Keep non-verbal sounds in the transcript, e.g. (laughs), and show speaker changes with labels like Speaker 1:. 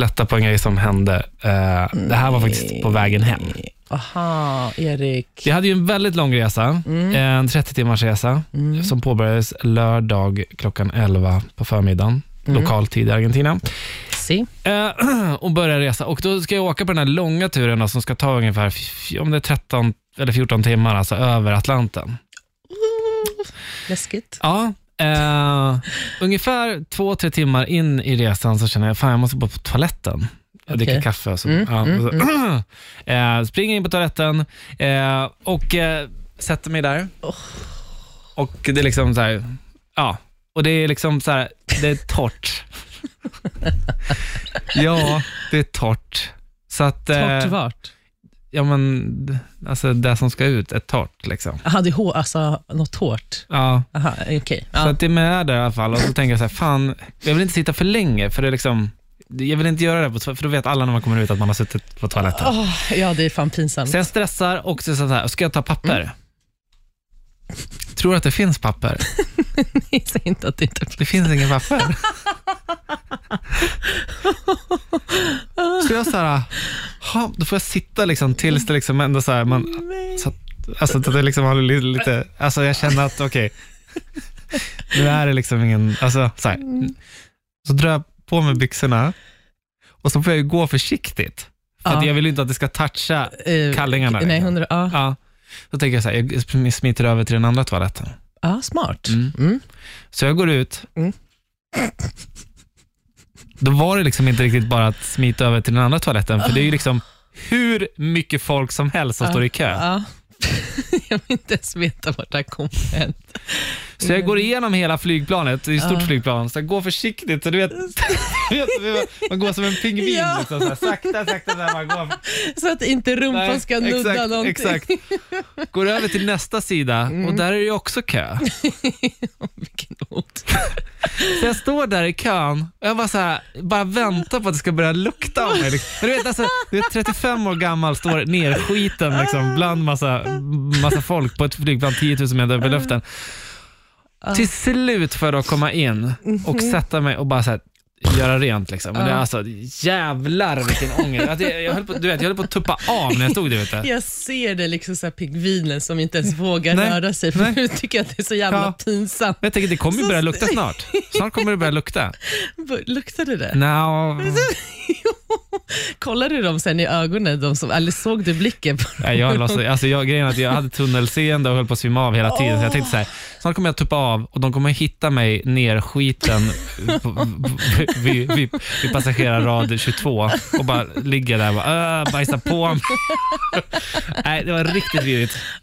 Speaker 1: lätta på en grej som hände. Eh, det här var faktiskt på vägen hem.
Speaker 2: Aha, Erik.
Speaker 1: Jag hade ju en väldigt lång resa, en 30 timmars resa,
Speaker 2: Mm.
Speaker 1: som påbörjades lördag klockan 11 på förmiddagen, lokal tid i Argentina.
Speaker 2: Se.
Speaker 1: Eh, (clears throat) och börjar resa. Och då ska jag åka på den här långa turen då, som ska ta ungefär f- om det är 13 eller 14 timmar, alltså över Atlanten.
Speaker 2: Läskigt.
Speaker 1: Ja, eh, ungefär två, tre timmar in i resan så känner jag, fan jag måste bara på toaletten. Jag
Speaker 2: Okej. Mm,
Speaker 1: dricker kaffe. och Så, ja, och så, (clears throat) eh, springer in på toaletten eh, och eh, sätter mig där. Och det är liksom så här, ja, och det är liksom så här, det är
Speaker 2: (laughs)
Speaker 1: torrt. ja, det är torrt. Så att, eh,
Speaker 2: Torrt vart?
Speaker 1: ja men, alltså det som ska ut är torrt liksom.
Speaker 2: Aha, det är hår, alltså något hårt.
Speaker 1: Ja.
Speaker 2: Aha, okej.
Speaker 1: Så
Speaker 2: Ja.
Speaker 1: att det är med där i alla fall och så tänker jag så här, fan, jag vill inte sitta för länge för det är liksom, jag vill inte göra det, på toa- för då vet alla när man kommer ut att man har suttit på toaletten.
Speaker 2: Åh, ja, det är fan pinsamt.
Speaker 1: Så jag stressar och så så här, ska jag ta papper?
Speaker 2: Mm.
Speaker 1: Tror att det finns papper?
Speaker 2: (laughs) Säg inte att det inte
Speaker 1: Det finns inget papper. så jag så här, ha, då får jag sitta liksom tills det liksom ändå så här, man, så att, alltså att det liksom har li- lite, alltså jag känner att okej, nu är det liksom ingen, alltså så här.
Speaker 2: Mm.
Speaker 1: Så drar jag på mig byxorna och så får jag ju gå försiktigt. För att
Speaker 2: Ja.
Speaker 1: jag vill ju inte att det ska toucha
Speaker 2: Eh,
Speaker 1: kallingarna.
Speaker 2: Nej,
Speaker 1: liksom.
Speaker 2: hundra, ja.
Speaker 1: Ja. Då tänker jag så här, jag sm- smiter över till den andra toaletten.
Speaker 2: ja, smart.
Speaker 1: Mm.
Speaker 2: Mm.
Speaker 1: Så jag går ut.
Speaker 2: Mm.
Speaker 1: Då var det liksom inte riktigt bara att smita över till den andra toaletten, för det är ju liksom hur mycket folk som helst som står i kö.
Speaker 2: Ja. (laughs) jag vill inte ens veta vart det här kommer än.
Speaker 1: Så
Speaker 2: Mm.
Speaker 1: jag går igenom hela flygplanet, det är ett stort flygplan, så jag går försiktigt. Så du vet, (laughs) du vet, man går som en pingvin,
Speaker 2: Ja.
Speaker 1: liksom, så här, sakta, sakta. Så här, man
Speaker 2: (laughs)
Speaker 1: går.
Speaker 2: Så att inte rumpan
Speaker 1: Nej,
Speaker 2: ska nudda
Speaker 1: exakt,
Speaker 2: någonting. Mm.
Speaker 1: Exakt. Går över till nästa sida och där är det ju också kö.
Speaker 2: Vilken ot.
Speaker 1: Så jag står där i kön och jag bara, så här, bara väntar på att det ska börja lukta av mig. liksom. Men Du vet, alltså, du vet 35 år gammal, står nerskiten liksom, bland massa, massa folk på ett flygplan 10 000 meter upp i luften. Till slut får jag då komma in och sätta mig och bara så här, göra rent. Liksom. Men det är alltså, jävlar vilken ångest. Att jag, jag höll på, du vet, jag höll på att tuppa av när jag stod där ute.
Speaker 2: Jag ser det liksom så här pingvinen som inte ens vågar
Speaker 1: Nej,
Speaker 2: röra sig för
Speaker 1: nej.
Speaker 2: nu tycker jag att det är så jävla
Speaker 1: Ja.
Speaker 2: pinsamt.
Speaker 1: Men jag tänker det kommer ju börja lukta snart. Snart kommer det börja lukta.
Speaker 2: B- Luktade det?
Speaker 1: No.
Speaker 2: Kollade du dem sen i ögonen? De som, eller såg du blicken? På dem?
Speaker 1: Nej, jag, låtsas- alltså, jag, grejen är att jag hade tunnelseende och höll på att svimma av hela tiden. Så jag tänkte så här, snart kommer jag tuppa av och de kommer hitta mig nerskiten på- på- vid, vid, vid passagerarrad 22 och bara ligga där och bara, "Äh, bajsa på mig. Nej, det var riktigt vidrigt.